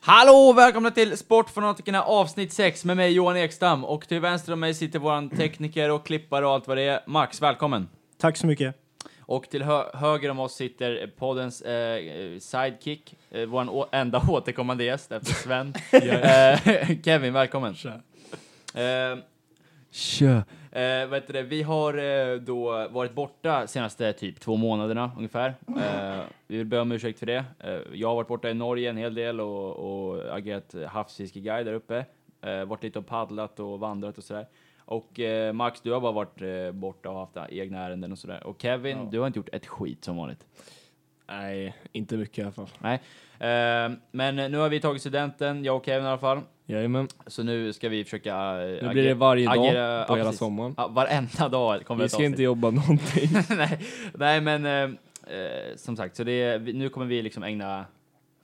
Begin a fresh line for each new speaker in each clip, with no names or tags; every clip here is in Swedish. Hallå och välkomna till Sportfanatikerna avsnitt 6 med mig Johan Ekstam och till vänster om mig sitter våran tekniker och klippare och allt vad det är. Max, välkommen!
Tack så mycket.
Och till hö höger om oss sitter poddens eh, eh, sidekick, eh, våran å- enda återkommande gäst efter Sven. eh, Kevin, välkommen!
Tja.
Eh, Eh, vet det, vi har eh, då varit borta senaste typ två månaderna ungefär. Eh, vi vill be om ursäkt för det. Eh, jag har varit borta i Norge en hel del och, och agerat havsfiskeguide där uppe. Eh, varit lite och paddlat och vandrat och sådär. Och eh, Max, du har bara varit eh, borta och haft egna ärenden och sådär. Och Kevin,
Ja.
du har inte gjort ett skit som vanligt.
Nej, inte mycket i alla fall.
Eh, men nu har vi tagit studenten, jag och Kevin i alla fall.
Jajamän.
Så nu ska vi försöka... eh,
Nu blir det varje dag
agera- ja,
på hela
precis.
sommaren.
Ja, varenda dag kommer
Vi
ett
ska
avsnitt.
inte jobba någonting.
nej, nej, men eh, eh, som sagt, så det, vi- nu kommer vi liksom ägna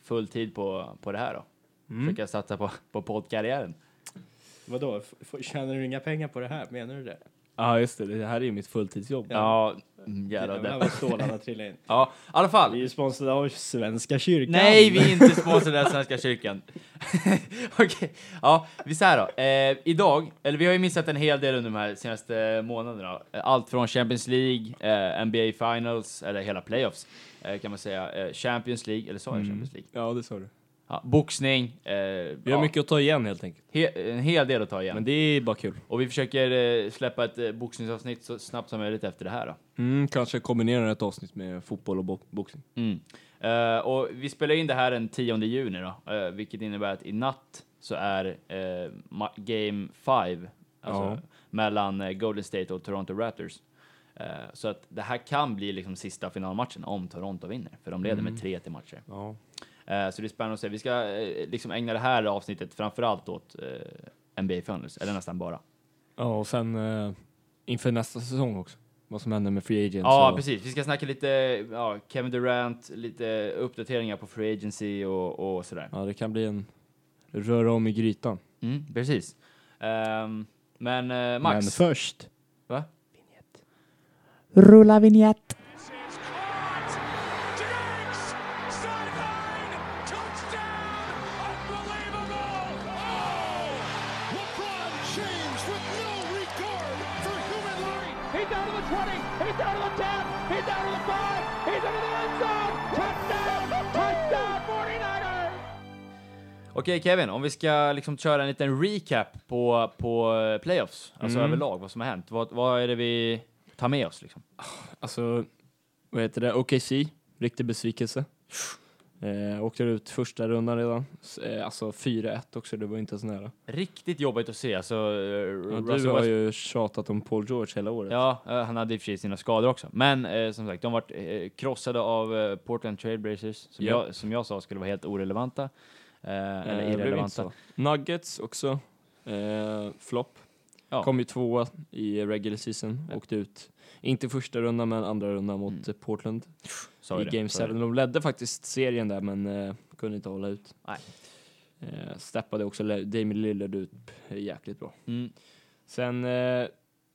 full tid på, på det här då. Försöka satsa på, på poddkarriären.
Vadå, F- f- tjänar du inga pengar på det här? Menar du det?
Ja, just det. Det här är ju mitt fulltidsjobb.
Ja, mm, jävlar.
Jävlar
Det.
vad stålarna trillade in.
Ja, i alla
Vi är
fall.
ju sponsrade av Svenska kyrkan.
Nej, vi är inte sponsrade av Svenska kyrkan. Okej, ja, vi säger då. Eh, idag, eller vi har ju missat en hel del under de här senaste månaderna. Eh, Allt från Champions League, eh, NBA Finals, eller hela playoffs eh, kan man säga. Eh, Champions League, eller sa jag Champions League?
Ja, det sa du.
Ja, boxning. Eh,
Vi har
ja.
mycket att ta igen helt enkelt.
He en hel del att ta igen.
Men det är bara kul.
Och vi försöker eh, släppa ett eh, boxningsavsnitt så snabbt som möjligt efter det här. Då.
Mm, kanske kombinera ett avsnitt med fotboll och bo- boxning.
Mm. Eh, och vi spelar in det här den 10 juni, då, eh, vilket innebär att i natt så är eh, ma- Game 5 alltså,
Ja.
mellan eh, Golden State och Toronto Raptors. Eh, så att det här kan bli liksom sista finalmatchen om Toronto vinner, för de leder
Mm.
med 3 till matcher.
Ja.
Eh, så det är spännande att se. Vi ska eh, liksom ägna det här avsnittet framförallt åt eh, NBA Finals, eller nästan bara.
Ja, och sen eh, inför nästa säsong också. Vad som händer med Free Agents.
Ja,
och-
precis. Vi ska snacka lite ja, Kevin Durant, lite uppdateringar på Free Agency och, och sådär.
Ja, det kan bli en röra om i grytan.
Mm, precis. Ehm, men eh, Max,
Men
Först.
va?
Rulla vignett.
It's caught! Diggs! Sideline! Touchdown! Unbelievable! Oh! LeBron James with no regard for human life! He's down to the 20! He's down to the 10! He's down to the 5! He's into the end zone! Touchdown! Touchdown 49ers!
Okej Kevin, om vi ska liksom köra en liten recap på, på eh, playoffs, alltså överlag, vad som har hänt. Vad, vad är det vi tar med oss liksom?
Alltså, vad heter det? OKC, riktig besvikelse. Eh, åkte ut första rundan redan. S- Eh, alltså 4-1 också, det var inte ens nära.
Riktigt jobbigt att se. Alltså, eh,
Ja, du
Russell
har
Westbrook-
ju tjatat om Paul George hela året.
Ja, eh, han hade i och för sig sina skador också. Men eh, som sagt, de vart eh, krossade av eh, Portland Trailblazers, som,
Ja.
jag, som jag sa skulle vara helt orelevanta. Eh,
Eh,
eller
det blev
irrelevanta.
inte så. Nuggets också. Eh, Flopp.
Ja.
Kom ju tvåa i regular season.
Ja.
Åkte ut, inte första rundan, men andra rundan mot
Mm.
eh, Portland
Sa ju
i
det,
Game
sa ju
7. De ledde faktiskt serien där, men eh, kunde inte hålla ut.
Nej.
Eh, steppade också Le- Damien Lillard ut eh, jäkligt bra.
det. Mm.
Sen eh,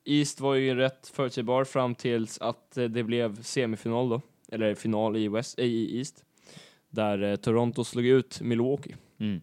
East var ju rätt förutsägbar fram tills att eh, det blev semifinal då, eller final i, West, eh, i East, där eh, Toronto slog ut Milwaukee.
Mm.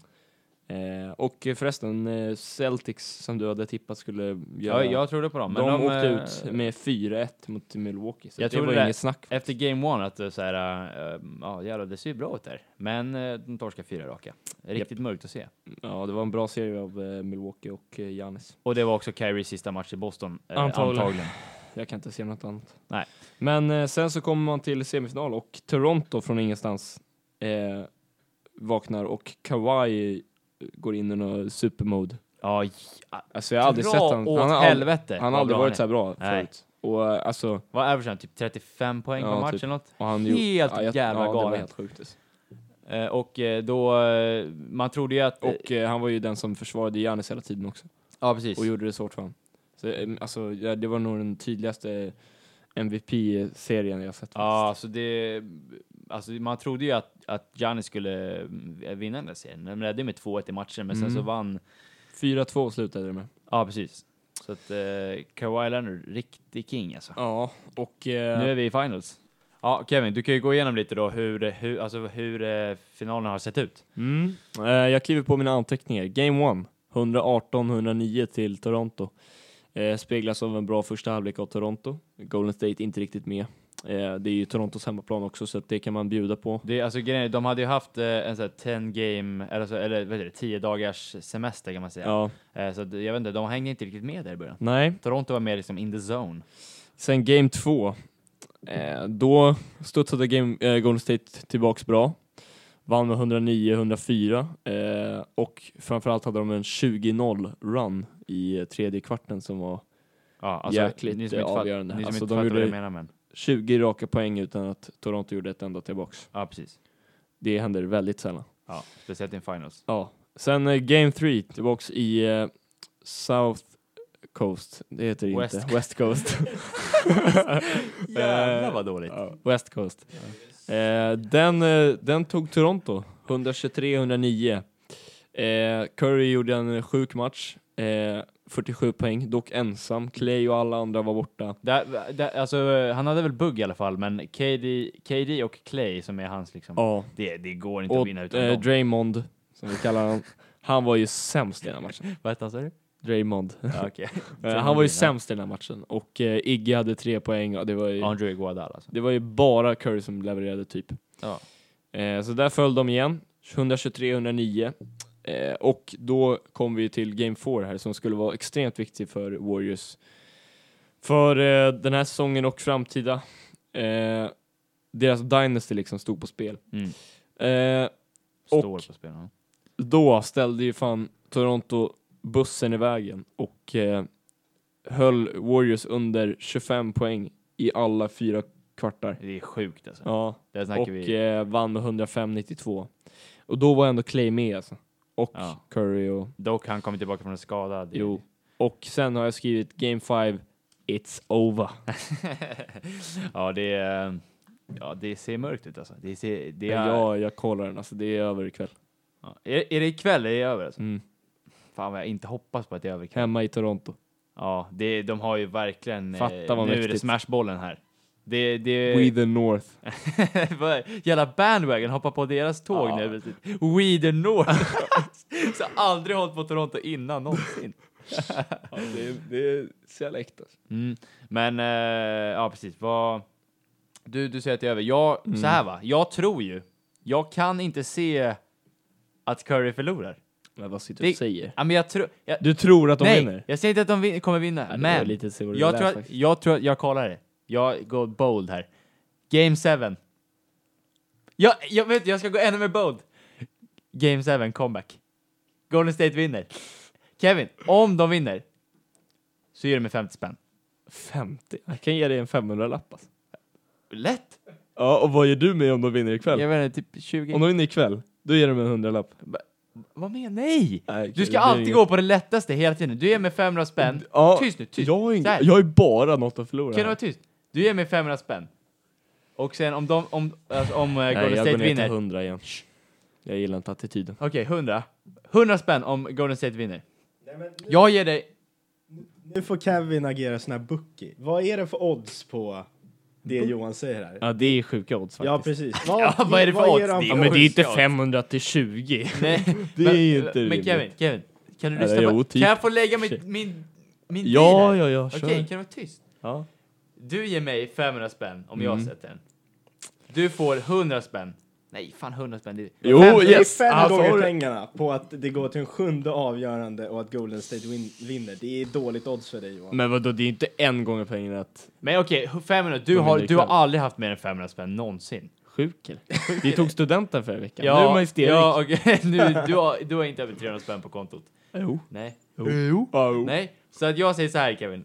Eh, och eh, förresten, eh, Celtics som du hade tippat skulle
Ja,
göra,
jag trodde på dem.
de,
Men de,
åkte
eh,
ut med 4-1 mot Milwaukee, så
Jag
det
tror
var
det-
inget snack.
Efter Game One att eh, så här, eh, ja jävlar det ser ju bra ut där. Men eh, de torskar fyra raka. Riktigt mörkt att se.
Ja, det var en bra serie av eh, Milwaukee och eh, Giannis.
Och det var också Kyries sista match i Boston. eh,
Antagligen. Jag kan inte se något annat.
Nej.
Men eh, sen så kommer man till semifinal och Toronto från ingenstans eh, vaknar och Kawhi eh, går in i någon supermode.
Ja, j-
Alltså jag har aldrig sett han.
åt
Han har, ald-
helvete.
han har
vad
aldrig
bra
varit
är.
så här bra
Nej.
förut. Och eh, alltså...
Vad average han? Typ 35 poäng per
Ja,
match
typ.
eller något?
Och han
Helt
jag-
jävla
Ja, det var
galet.
helt sjukt. alltså.
Eh, och eh, då, eh, man trodde ju att... eh,
Och eh, han var ju den som försvarade Giannis hela tiden också.
ja, precis.
Och gjorde det svårt för honom. Så, eh, alltså, ja, det var nog den tydligaste MVP-serien jag sett.
Ja, alltså det... Alltså man trodde ju att, att Giannis skulle eh, vinna den där serien. De ledde ju med 2-1 i matchen, men sen
Mm.
så vann...
4-2 slutade det med.
Ja, precis. Så att eh, Kawhi Leonard, riktig king alltså.
Ja, och...
Nu är vi i finals. Ja, Kevin, du kan ju gå igenom lite då hur, hur, alltså hur eh, finalen har sett ut.
Mm. Eh, jag kliver på mina anteckningar. Game 1, 118-109 till Toronto. Eh, speglas av en bra första halvlek av Toronto. Golden State inte riktigt med. Eh, det är ju Torontos hemmaplan också, så att det kan man bjuda på.
Det, är- alltså, grejen är, de hade ju haft eh, en sån här 10 game, eller, så, eller vad heter det, 10 dagars semester kan man säga.
Ja,
Eh, så att, jag vet inte, de hängde inte riktigt med där i början.
nej.
Toronto var mer liksom in the zone.
Sen Game 2, eh, då studsade game, eh, Golden State tillbaks bra. Vann med 109-104 eh, och framförallt hade de en 20-0 run i eh, tredje kvarten som var
Ja, alltså,
Jäkligt,
ni som
eh,
inte fatt-
avgörande.
Ni som
Alltså,
inte
de
fattar vad jag
gjorde-
menar, men.
20 raka poäng utan att Toronto gjorde ett enda tillbaks.
Ja, precis.
Det händer väldigt sällan.
Ja, speciellt i en finals.
Ja. Sen eh, Game 3 tillbaks i eh, South Coast. Det heter det
West
inte. West Coast. Eh,
Jävlar vad dåligt.
Ja, West Coast. Eh, den, eh, den tog Toronto, 123-109. Eh, Curry gjorde en sjuk match, eh, 47 poäng, dock ensam. Clay och alla andra var borta.
Där, där, alltså, han hade väl bugg i alla fall, men KD, KD och Clay som är hans liksom.
Ja.
Det, det går inte att
Och
vinna utan
eh,
dem.
Draymond, som vi kallar honom, han var ju sämst i den här matchen.
Vad hette han sa du?
Draymond.
Ja, okej.
Eh, han var ju sämst i den här matchen. Och eh, Iggy hade tre poäng och det var ju,
Andrew Iguodala alltså.
det var ju bara Curry som levererade typ.
Ja.
Eh, så där föll de igen, 123-109. Eh, och då kom vi till Game 4 här som skulle vara extremt viktig för Warriors. För eh, den här säsongen och framtida. Eh, deras Dynasty liksom stod på spel.
Mm.
Eh,
Står
Och-
på spel. ja.
då ställde ju fan Toronto bussen i vägen och eh, höll Warriors under 25 poäng i alla fyra kvartar.
Det är sjukt alltså.
Ja,
Där snackar
och
vi.
eh, vann med 105-92. Och då var ändå Clay med alltså. Och
Ja.
Curry och...
Dock, han kom ju tillbaka från en skada. Det-
Jo. Och sen har jag skrivit Game 5, It's over.
ja, det, är- ja, det ser mörkt ut alltså. Det ser, det är,
Ja, jag kollar den alltså, det är över ikväll.
Ja. Är, är det ikväll? Är det över? Alltså?
Mm.
Fan vad jag inte hoppas på att det är över ikväll.
Hemma i Toronto.
Ja, det, de har ju verkligen... eh,
Fatta vad
Nu är det
mäktigt.
smashbollen här. Det, det,
We the North.
Vad- Jävla bandwagon hoppar på deras tåg
Ja.
nu. We the North. så aldrig hållit på Toronto innan någonsin.
Ja, det, det är select alltså.
Mm. Men eh, ja, precis. Vad, du, du säger att det är över. Jag, Så
Mm.
här va, jag tror ju. Jag kan inte se att Curry förlorar.
Men vad sitter du
Det,
och säger?
Ja, men jag tror... Jag,
Du tror att de
nej,
vinner?
jag säger inte att de vin, kommer vinna.
Ja, det var
men
lite så det
jag,
lät
tror att,
faktiskt.
jag tror att jag kollar det. Jag går bold här. Game 7. Jag, jag vet, jag ska gå ännu mer bold. Game 7 comeback. Golden State vinner. Kevin, om de vinner så ger du mig 50 spänn.
50? Jag kan ge dig en 500-lapp alltså.
Lätt!
Ja, och vad gör du med om de vinner ikväll?
Jag vet inte, typ 20.
Om de vinner ikväll, då ger de en 100-lapp.
Vad menar Nej!
Nej, okej,
Du
det
ska
är
alltid
inget-
gå på det lättaste hela tiden. Du ger mig 500 spän.
Ja,
Tyst nu, tyst.
Jag har,
Så här.
inget, jag har ju bara något att förlora.
Kan du
här.
vara tyst? Du ger mig 500 spänn. Och sen om de, om, alltså, om eh,
Nej,
Golden
jag går
State
ner till
vinner.
100 igen. Shh. Jag gillar inte attityden.
Okej, 100. 100 spänn om Golden State vinner.
Nej, men nu,
Jag ger dig...
nu får Kevin agera sån här bookie. Vad är det för odds på det Johan säger här?
Ja, det är sjuka odds faktiskt.
Ja, precis. Vad, ja,
vad är det för odds?
ger han
Det
Ja,
är-
för-
men det är inte
Sjuka odds.
500 till 20.
Nej,
Det
men- eh,
är inte
Men
rimligt.
Kevin, Kevin. Kan du
Nej,
lyssna på...
jo, typ.
Kan jag få lägga min... min, min tid
Ja,
här?
ja, ja,
Okej,
kör.
kan du vara tyst?
Ja.
Du ger mig 500 spänn om jag
Mm.
sätter den. Du får 100 spänn. Nej, fan 100 spänn. Det är...
Jo,
Det är
yes!
fem
Ah, så har
gånger
du-
pengarna på att det går till en sjunde avgörande och att Golden State win vinner. Det är dåligt odds för dig Johan.
Men vadå, det är inte en gång pengarna att...
Men okej, 500. Du
De
har,
vinner
du har
ikväll.
aldrig haft mer än 500 spänn någonsin.
Sjuk eller? Vi tog studenten förra veckan.
Ja,
nu är man ju sterig.
Ja, okej. nu, du, har, du har inte över 300 spänn på kontot.
Jo.
Nej.
Jo.
Nej. Så att jag säger så här Kevin.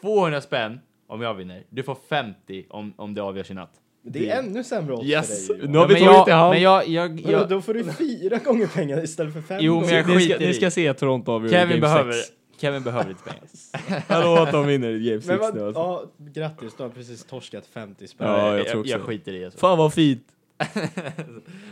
200 spänn om jag vinner. Du får 50 om, om det avgörs i natt.
Det är ännu sämre odds
Yes!
för dig Johan.
Nu har vi
men
tagit i
jag,
hand.
men jag, jag,
Vadå,
jag,
Då får du fyra gånger pengarna istället för fem
Jo, men
gånger.
jag
ni, ska,
skiter i.
ni ska se Toronto avgöra
Kevin
game
behöver,
sex.
Kevin behöver lite pengar.
Jag lovar att de vinner game 6
Men
nu
vad,
alltså.
ja, grattis, du har precis torskat 50 spänn.
Ja, jag
jag,
tror också
jag
det.
skiter i alltså.
Fan vad fint!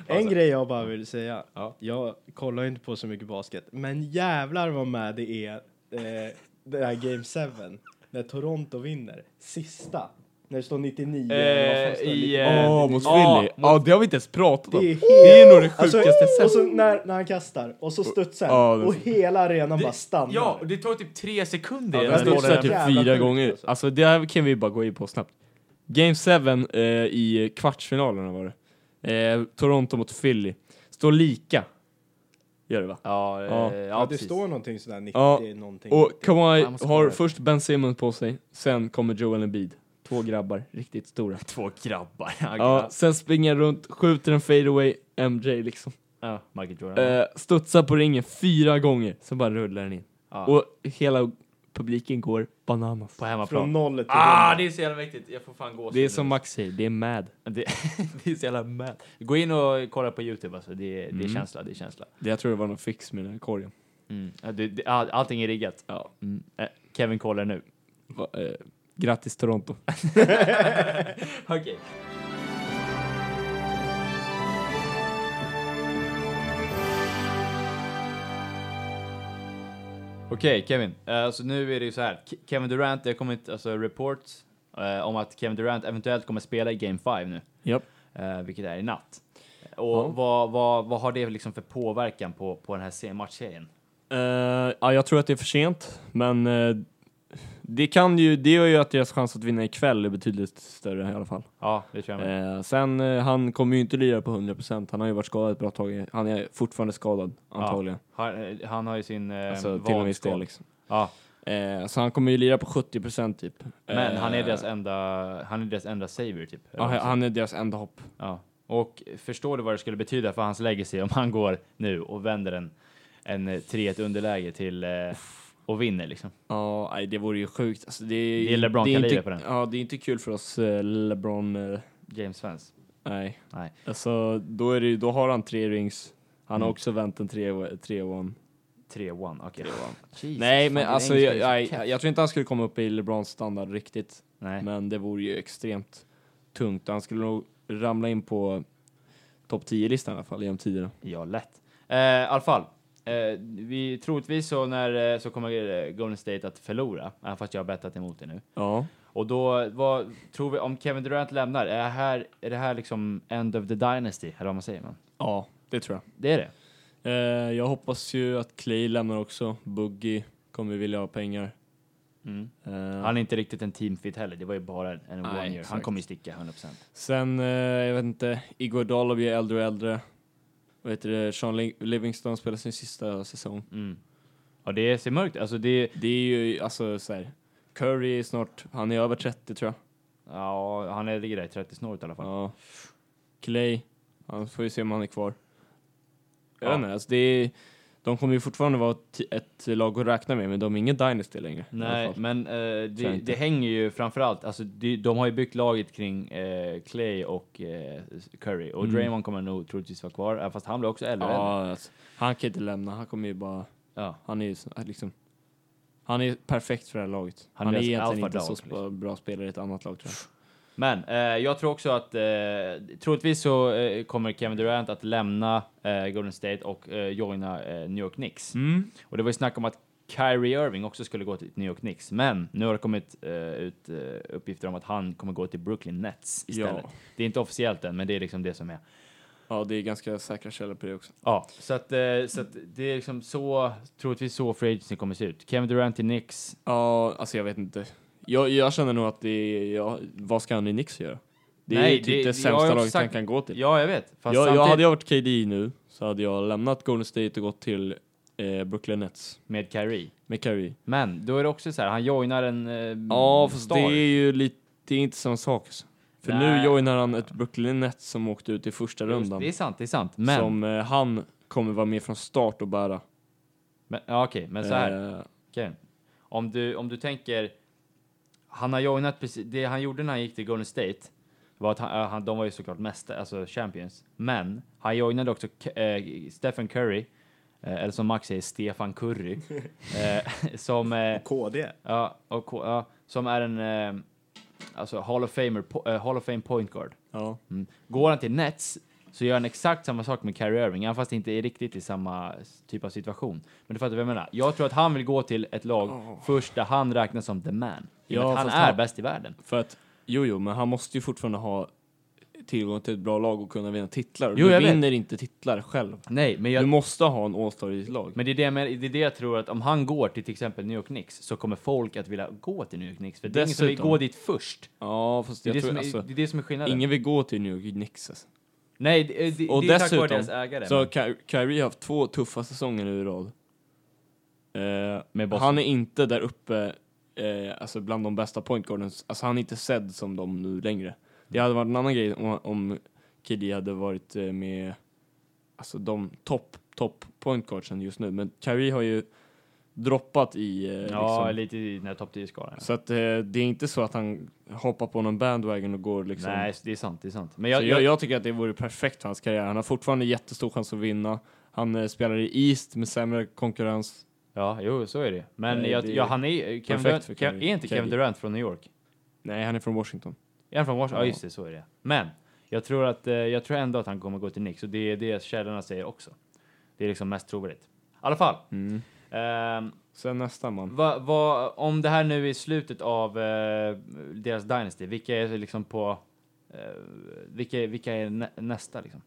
En grej jag bara vill säga.
Ja.
Jag kollar ju inte på så mycket basket, men jävlar vad med det är eh, det här Game 7 när Toronto vinner. Sista. När det står 99. eller vad
Eh,
fan det står,
I...
99.
eh,
Åh, mot
ja,
Philly. Ja, det har vi inte ens pratat om.
Det är
Det är nog det
Alltså,
sjukaste
och så
sättet.
när, när han kastar, och så studsar
Ja,
han,
det-
och hela arenan bara stannar.
Ja, och det tar typ tre sekunder.
Ja,
innan
det
den
står
bollen
Studsar
så
är-
typ
jävla
fyra
sjukt,
gånger.
alltså.
Alltså det här kan vi bara gå in på snabbt. Game 7 eh, i kvartsfinalerna var det. Eh, Toronto mot Philly. Står lika. Gör det va?
Ja, eh,
Ja.
ja,
ja, det
precis.
står någonting sådär 90
Ja,
någonting.
Och Kawhi
Jag måste kolla
har
det.
först Ben Simmons på sig, sen kommer Joel Embiid. Två grabbar, riktigt stora.
Två grabbar.
Ja, sen springer han runt, skjuter en fadeaway, MJ liksom.
ja. Michael Jordan.
Eh, studsar på ringen fyra gånger, sen bara rullar den in.
ja.
Och hela publiken går bananas.
på
Från
hemmaplan.
noll till
Ah,
hundra.
det är så jävla mäktigt. Jag får fan gåshud.
Det är som
nu.
Max säger, det är mad.
Det, det är så jävla mad. Gå in och kolla på Youtube alltså. Det, är- det är
Mm.
känsla, det är känsla.
Det, jag tror det var någon fix med den här korgen.
Mm. Ja, Det, det, all, allting är riggat.
Ja.
Mm. Eh, Kevin kollar nu.
Va, eh, grattis Toronto.
Okej. Okej, Kevin. Eh, så nu är det ju så här. Ke- Kevin Durant, det har kommit alltså, reports eh, om att Kevin Durant eventuellt kommer spela i Game 5 nu,
Japp.
eh, vilket är i natt. Och
Ja.
vad, vad, vad har det liksom för påverkan på, på den här se- matchserien?
Eh, ja, jag tror att det är för sent, men eh, det, kan ju, det gör ju att deras chans att vinna ikväll är betydligt större i alla fall.
Ja, det tror jag med.
Eh, sen, eh, han kommer ju inte lira på 100%, han har ju varit skadad ett bra tag. Han är fortfarande skadad, antagligen.
Han, eh, han har ju sin eh,
alltså, till och med
vadskada.
skadad, liksom.
Ja,
Eh, Så han kommer ju lira på 70% typ.
men han är
Eh,
deras enda, han är deras enda savior typ.
ja, han är deras enda hopp.
Ja. Och förstår du vad det skulle betyda för hans legacy om han går nu och vänder en, en eh, 3-1 underläge till eh, och vinner liksom?
Ja, nej, det vore ju sjukt. Alltså, det, är,
Det är LeBron
det är
kaliber
inte,
på den.
Ja, det är inte kul för oss eh, LeBron. eh,
James Svens.
Nej.
Nej.
Alltså, då, är det, ju- då har han tre rings. Han har
Mm.
också vänt en 3-1.
3-1, okej. Jesus,
Nej,
fan,
men
din
alltså,
engelska
jag,
är så
jag,
kass.
jag, tror inte han skulle komma upp i LeBrons standard riktigt.
Nej.
Men det vore ju extremt tungt. Han skulle nog ramla in på topp 10-listan i alla fall, genom tiderna.
Ja, lätt. Eh, I alla fall, eh, vi, troligtvis så, när, eh, så kommer eh, Golden State att förlora, även fast jag har bettat emot det nu.
Ja.
Och då, vad tror vi, om Kevin Durant lämnar, är det här, är det här liksom end of the dynasty, eller vad man säger? Man?
Ja, det tror jag.
Det är det.
Eh, jag hoppas ju att Clay lämnar också. Boogie kommer vilja ha pengar. Eh,
Mm. Han är inte riktigt en teamfit heller, det var ju bara en en
Nej,
one year. Han
exakt.
kommer ju sticka 100%.
Sen, eh, jag vet inte, Igor blir äldre och äldre. Vad heter det, Sean Li- Livingston spelar sin sista säsong.
Mm. Ja, det ser mörkt alltså det,
Det är ju, alltså så här, Curry är snart, han är över 30 tror jag.
ja, han är- ligger där i 30-snåret i alla fall.
Ja. Clay, han får ju se om han är kvar. Jag
Ja.
vet inte, alltså det är, de kommer ju fortfarande vara ett, ett lag att räkna med, men de är ingen dynasty längre. i alla
Nej,
fall.
men eh, det,
inte.
det hänger ju framförallt, alltså de, de har ju byggt laget kring eh, Clay och eh, Curry och
Mm.
Draymond kommer nog troligtvis vara kvar, även fast han blir också äldre. Ja.
ja, alltså, han kan inte lämna, han kommer ju bara
Ja.
Han är ju så- liksom... Han är perfekt för det här laget. Han,
Han är
är
deras
egentligen
alpha
inte
dog,
så sp-
liksom.
bra spelare i ett annat lag tror jag.
Men eh, jag tror också att eh, troligtvis så eh, kommer Kevin Durant att lämna eh, Golden State och eh, joina eh, New York Knicks. Och det var ju snack om att Kyrie Irving också skulle gå till New York Knicks, men nu har det kommit eh, ut eh, uppgifter om att han kommer gå till Brooklyn Nets istället.
Ja.
Det är inte officiellt än, men det är liksom det som är.
ja, det är ganska säkra källor på det också.
Ja, så att, eh, så att det är liksom så, troligtvis så free agency kommer se ut. Kevin Durant till Knicks.
Ja, alltså jag vet inte. Jag, jag känner nog att det är... Ja, vad ska han i Knicks göra? Det är
Nej,
ju typ
det-
det
jag
sämsta
har också
laget han
sagt-
kan gå till.
Typ. Ja, jag vet. Fast
jag, jag
samtidigt
hade jag varit KD nu så hade jag lämnat Golden State och gått till eh, Brooklyn Nets
med Kyrie.
med Kyrie.
Men då är det också så här, han joinar en eh,
Ja, fast
star.
det är ju lite... Det är inte samma sak. Alltså. För nu
Nej.
joinar han ett Brooklyn Nets som åkte ut i första
Just,
rundan.
det är sant, det är sant. Men,
Som eh, han kommer vara med från start och bära.
men ja, okej, men så här.
Eh,
Okej. Om du, om du tänker, han har joinat precis, det han gjorde när han gick till Golden State var att han, äh, han, de var ju såklart mästare, alltså champions, men han joinade också K- eh, Stephen Curry, eh, eller som Max säger, Stefan Curry, eh, som, eh,
KD.
ja, och, K- ja, som är en eh, alltså Hall of, Famer, po- eh, Hall of Fame point guard.
ja.
Mm. Går han till Nets så gör han exakt samma sak med Kyrie Irving, även fast det inte är riktigt i samma s- typ av situation. Men du fattar vad jag menar. Jag tror att han vill gå till ett lag först där han räknas som the man. I och med
Ja,
att han
fast
är
han-
bäst i världen.
För att Jo, jo, men han måste ju fortfarande ha tillgång till ett bra lag och kunna vinna titlar.
Jo,
du
jag vet.
vinner inte titlar själv.
Nej, men
Du
jag,
måste ha en all-star i ditt lag.
men det, är det, jag menar- det är det jag tror att om han går till till exempel New York Knicks så kommer folk att vilja gå till New York Knicks. För det är ingen som vill
Dessutom.
gå dit först.
ja, fast
Det är
jag
det,
tror,
som, är-
alltså,
det är det som är skillnaden.
ingen vill gå till New York Knicks. Alltså.
Nej, det, det,
Och
det är tack
dessutom
vare deras ägare.
Så
men-
har Ky- Kyrie har haft två tuffa säsonger nu i rad. Eh,
Med Boston.
han är inte där uppe, eh, alltså bland de bästa pointguardens. Alltså han är inte sedd som dem nu längre. Det hade varit en annan grej om, om KD hade varit eh, med, alltså de topp, topp pointguardsen just nu. Men Kyrie har ju droppat i, eh,
ja,
liksom.
lite i den här topp 10-skalan.
Så att eh, det är inte så att han hoppar på någon bandwagon och går liksom.
Nej, det är sant, det är sant. Men
Jag,
jag,
så jag, jag tycker att det vore perfekt för hans karriär. Han har fortfarande jättestor chans att vinna. Han eh, spelar i East med sämre konkurrens.
ja, jo, så är det. Men
Nej,
jag,
det är
ja, han är, Kevin
perfekt
Durant,
för
Kev,
Kyrie.
är inte Kevin
Kyrie.
Durant från New York?
Nej, han är från Washington.
Är han från Washington? Ja,
Ja.
just det, så är det. Men jag tror, att, eh, jag tror ändå att han kommer gå till Knicks och det är det källorna säger också. Det är liksom mest trovärdigt. I alla fall. ehm,
Sen nästa man.
vad- vad- om det här nu är slutet av eh, deras Dynasty, vilka är liksom på... Eh, vilka, vilka är nä- nästa liksom?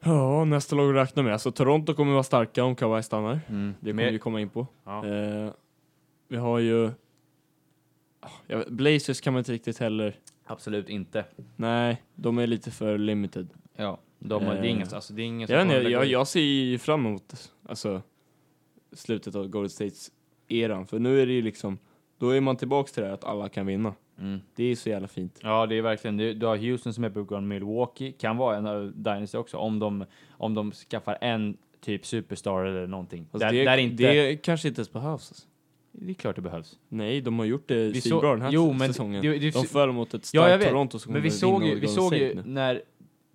Ja, nästa lag att räkna med. Alltså Toronto kommer vara starka om Kawhi stannar. Mm, Det kommer
Men-
vi komma in på.
Ja.
Eh, vi har ju... Ah, Jag vet, Blazers kan man inte riktigt heller.
Absolut inte.
Nej, de är lite för limited.
Ja, de, det är
Eh,
inget, alltså det är inget
Jag, vet inte, jag, jag ser ju fram emot alltså, slutet av Golden States eran. För nu är det ju liksom, då är man tillbaks till det här att alla kan vinna.
Mm.
Det är så jävla fint.
Ja, det är verkligen. Du, du har Houston som är på gång, Milwaukee kan vara en av Dynasty också om de, om de skaffar en typ superstar eller någonting.
Fast
där,
det,
där inte, det,
det kanske inte ens behövs. Alltså.
är klart det behövs.
Nej, de har gjort det
Vi
svinbra
så-
den här
jo,
s-
men
säsongen.
det- det-
de föll mot ett
Ja, jag
starkt
vet.
Toronto som
Men vi
kommer
såg
vinna
ju, vi
Golden
såg
State
ju
nu.
när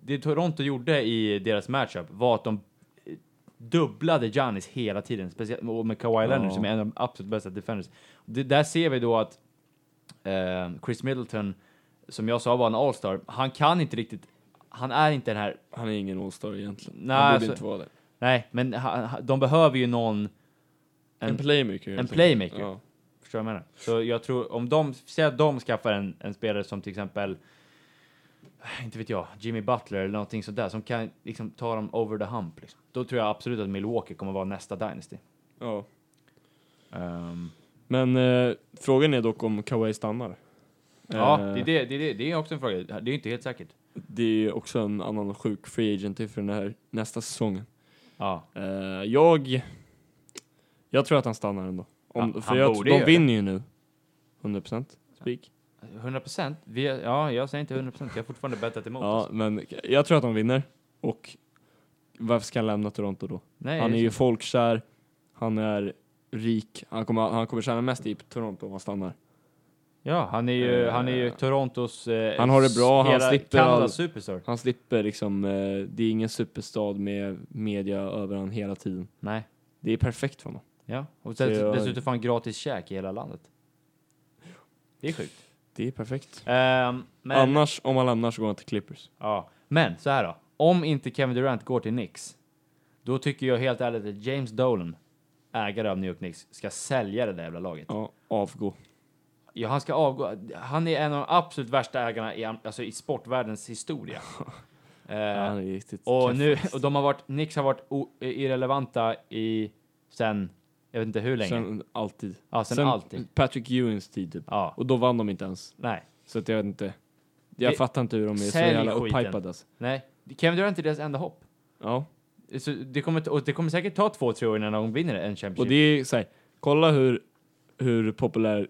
det Toronto gjorde i deras matchup var att de eh, dubblade Giannis hela tiden, speciellt och med Kawhi Leonard som är en av de absolut bästa defenders. Det, där ser vi då att eh, Chris Middleton, som jag sa var en all-star, han kan inte riktigt, han är inte den här
Han är ingen All-star egentligen.
Nej,
han borde
alltså-
inte vara där.
Nej, men ha, ha, de behöver ju någon,
En,
en-
playmaker. helt enkelt.
playmaker.
Ja.
förstår du vad jag menar? Så jag tror, om de, säg att de skaffar en, en spelare som till exempel, inte vet jag, Jimmy Butler eller någonting sådär, som kan liksom ta dem over the hump. Liksom. Då tror jag absolut att Milwaukee kommer vara nästa Dynasty.
Ja.
Ehm,
Men eh, frågan är dock om Kawhi stannar.
ja,
Eh,
det är, det, det, är det, det är också en fråga. Det är inte helt säkert.
det är ju också en annan sjuk free agent inför den här nästa säsongen.
Ja,
Eh, jag... Jag tror att han stannar ändå. Om,
Ja,
för
han
jag,
borde
de
göra det.
vinner ju nu. 100% spik.
100 procent. Ja, jag säger inte 100 procent. Jag har fortfarande bettat emot.
Ja,
alltså.
men jag tror att de vinner. Och varför ska han lämna Toronto då?
Nej,
han är
det
ju folkkär, han är rik, han kommer, han kommer tjäna mest i Toronto om han stannar.
ja, han är ju,
Eh,
han är ju Torontos... eh,
han har det bra, han
hela
slipper
Kanadas
all-
superstar.
Han slipper liksom, eh, det är ingen superstad med media över han hela tiden.
Nej.
Det är perfekt för honom.
Ja, och
Så
dess,
jag-
dessutom får han gratis käk i hela landet. Det är sjukt.
Det är perfekt.
Ehm, men,
Annars, om han lämnar så går han till Clippers.
ja. men så här då. Om inte Kevin Durant går till Knicks, då tycker jag helt ärligt att James Dolan, ägare av New York Knicks, ska sälja det där jävla laget.
Ja, avgå.
Ja, han ska avgå. Han är en av de absolut värsta ägarna i, am- alltså, i sportvärldens historia. Ehm,
han är riktigt
och,
keff
nu,
faktiskt.
och de har varit, Knicks har varit o, irrelevanta i sen, jag vet inte hur länge.
Sen alltid.
ja, sen, alltid.
Patrick Ewings tid typ.
Ja,
Och då vann de inte ens.
nej.
Så att jag vet inte. Jag
Det-
fattar inte hur de är så
Sälj
jävla
skiten.
upphypade alltså.
Nej, Kevin Durant är deras enda hopp.
Ja.
Så det, kommer, ta- och det kommer säkert ta två, tre år innan de vinner en Championship.
Och det är så här, kolla hur, hur populär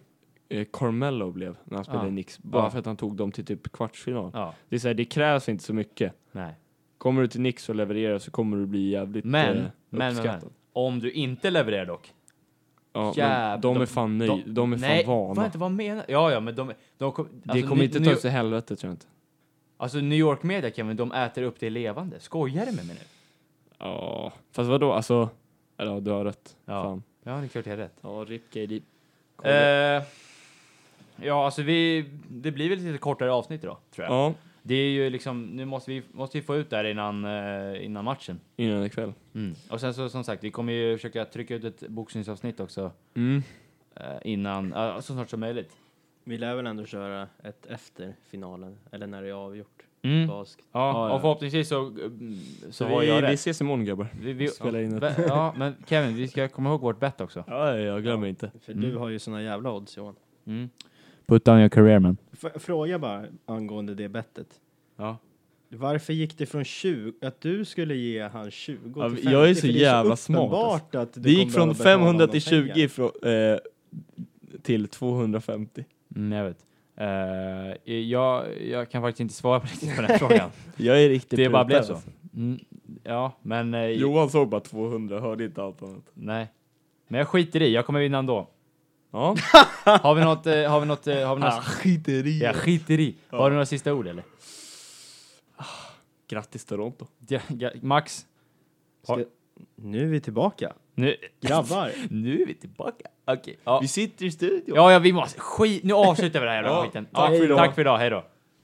eh, Carmelo blev när han spelade
Ja.
i Knicks. Bara
Ja.
för att han tog dem till typ kvartsfinal.
Ja,
Det, är så här, det krävs inte så mycket.
nej.
Kommer du till Knicks och levererar så kommer du bli jävligt
Men,
eh,
men, men,
uppskattad.
men. Om du inte levererar dock.
Ja, men
Jävlar.
de är fan nöjda. De, är fan
nej, Alltså,
vana.
fan inte vad menar Ja, ja, men de... de kom,
det kommer
Ny-
inte
New,
ta sig helvete tror jag inte.
Alltså New York Media, Kevin, de äter upp det levande. Skojar du med mig nu?
Ja, fast vadå alltså? Eller ja, du har rätt.
Ja.
Fan.
Ja, det är klart jag har rätt.
Ja, RIP KD.
Eh, ja, alltså vi... Det blir väl ett lite kortare avsnitt idag, tror jag.
Ja,
Det är ju liksom... Nu måste vi, måste vi få ut det här innan, eh, innan matchen.
innan ikväll.
Mm. Och sen så som sagt, vi kommer ju försöka trycka ut ett boxningsavsnitt också
Mm.
eh, innan, eh, så snart som möjligt.
Vi lär väl ändå köra ett efter finalen, eller när det är avgjort.
Mm. Ja,
Basket.
ja,
Ja, ja.
och förhoppningsvis så, mm, så har
vi,
jag
vi
rätt.
ses imorgon grabbar.
Vi, vi,
spelar in ett-
Be- ja, men Kevin, vi ska komma ihåg vårt bett också.
Ja, jag glömmer inte.
För
Mm.
du har ju såna jävla odds Johan.
Mm. Put down your career man.
F- fråga bara angående det bettet.
Ja.
Varför gick det från 20, att du skulle ge han 20
Ja,
till 50?
jag är så
För det
jävla
så
smart, alltså.
uppenbart att du
Det gick
kommer
från
behöva betala
500
honom
till
pengar.
20 ifrån, eh, till 250.
Mm, jag vet. Eh, jag, jag kan faktiskt inte svara på riktigt på den här frågan.
Jag är riktigt
Det bara
brutad,
blev så.
alltså.
Mm, ja, men... eh,
Johan såg bara 200, hörde inte allt annat.
Nej. Men jag skiter i, jag kommer vinna ändå.
Ja.
Har vi något... eh, har vi något... eh, har vi några,
skiter i
jag skiter i. Har du några sista ord eller?
Grattis Toronto.
Ja, ja, Max?
Ska- Nu är vi tillbaka.
Nu,
Grabbar.
nu är vi tillbaka. Okej. ja.
Vi sitter i studion.
ja, ja, vi måste... Skit, nu avslutar vi den här jävla
Ja,
skiten.
tack för idag.
Tack för idag, hej då.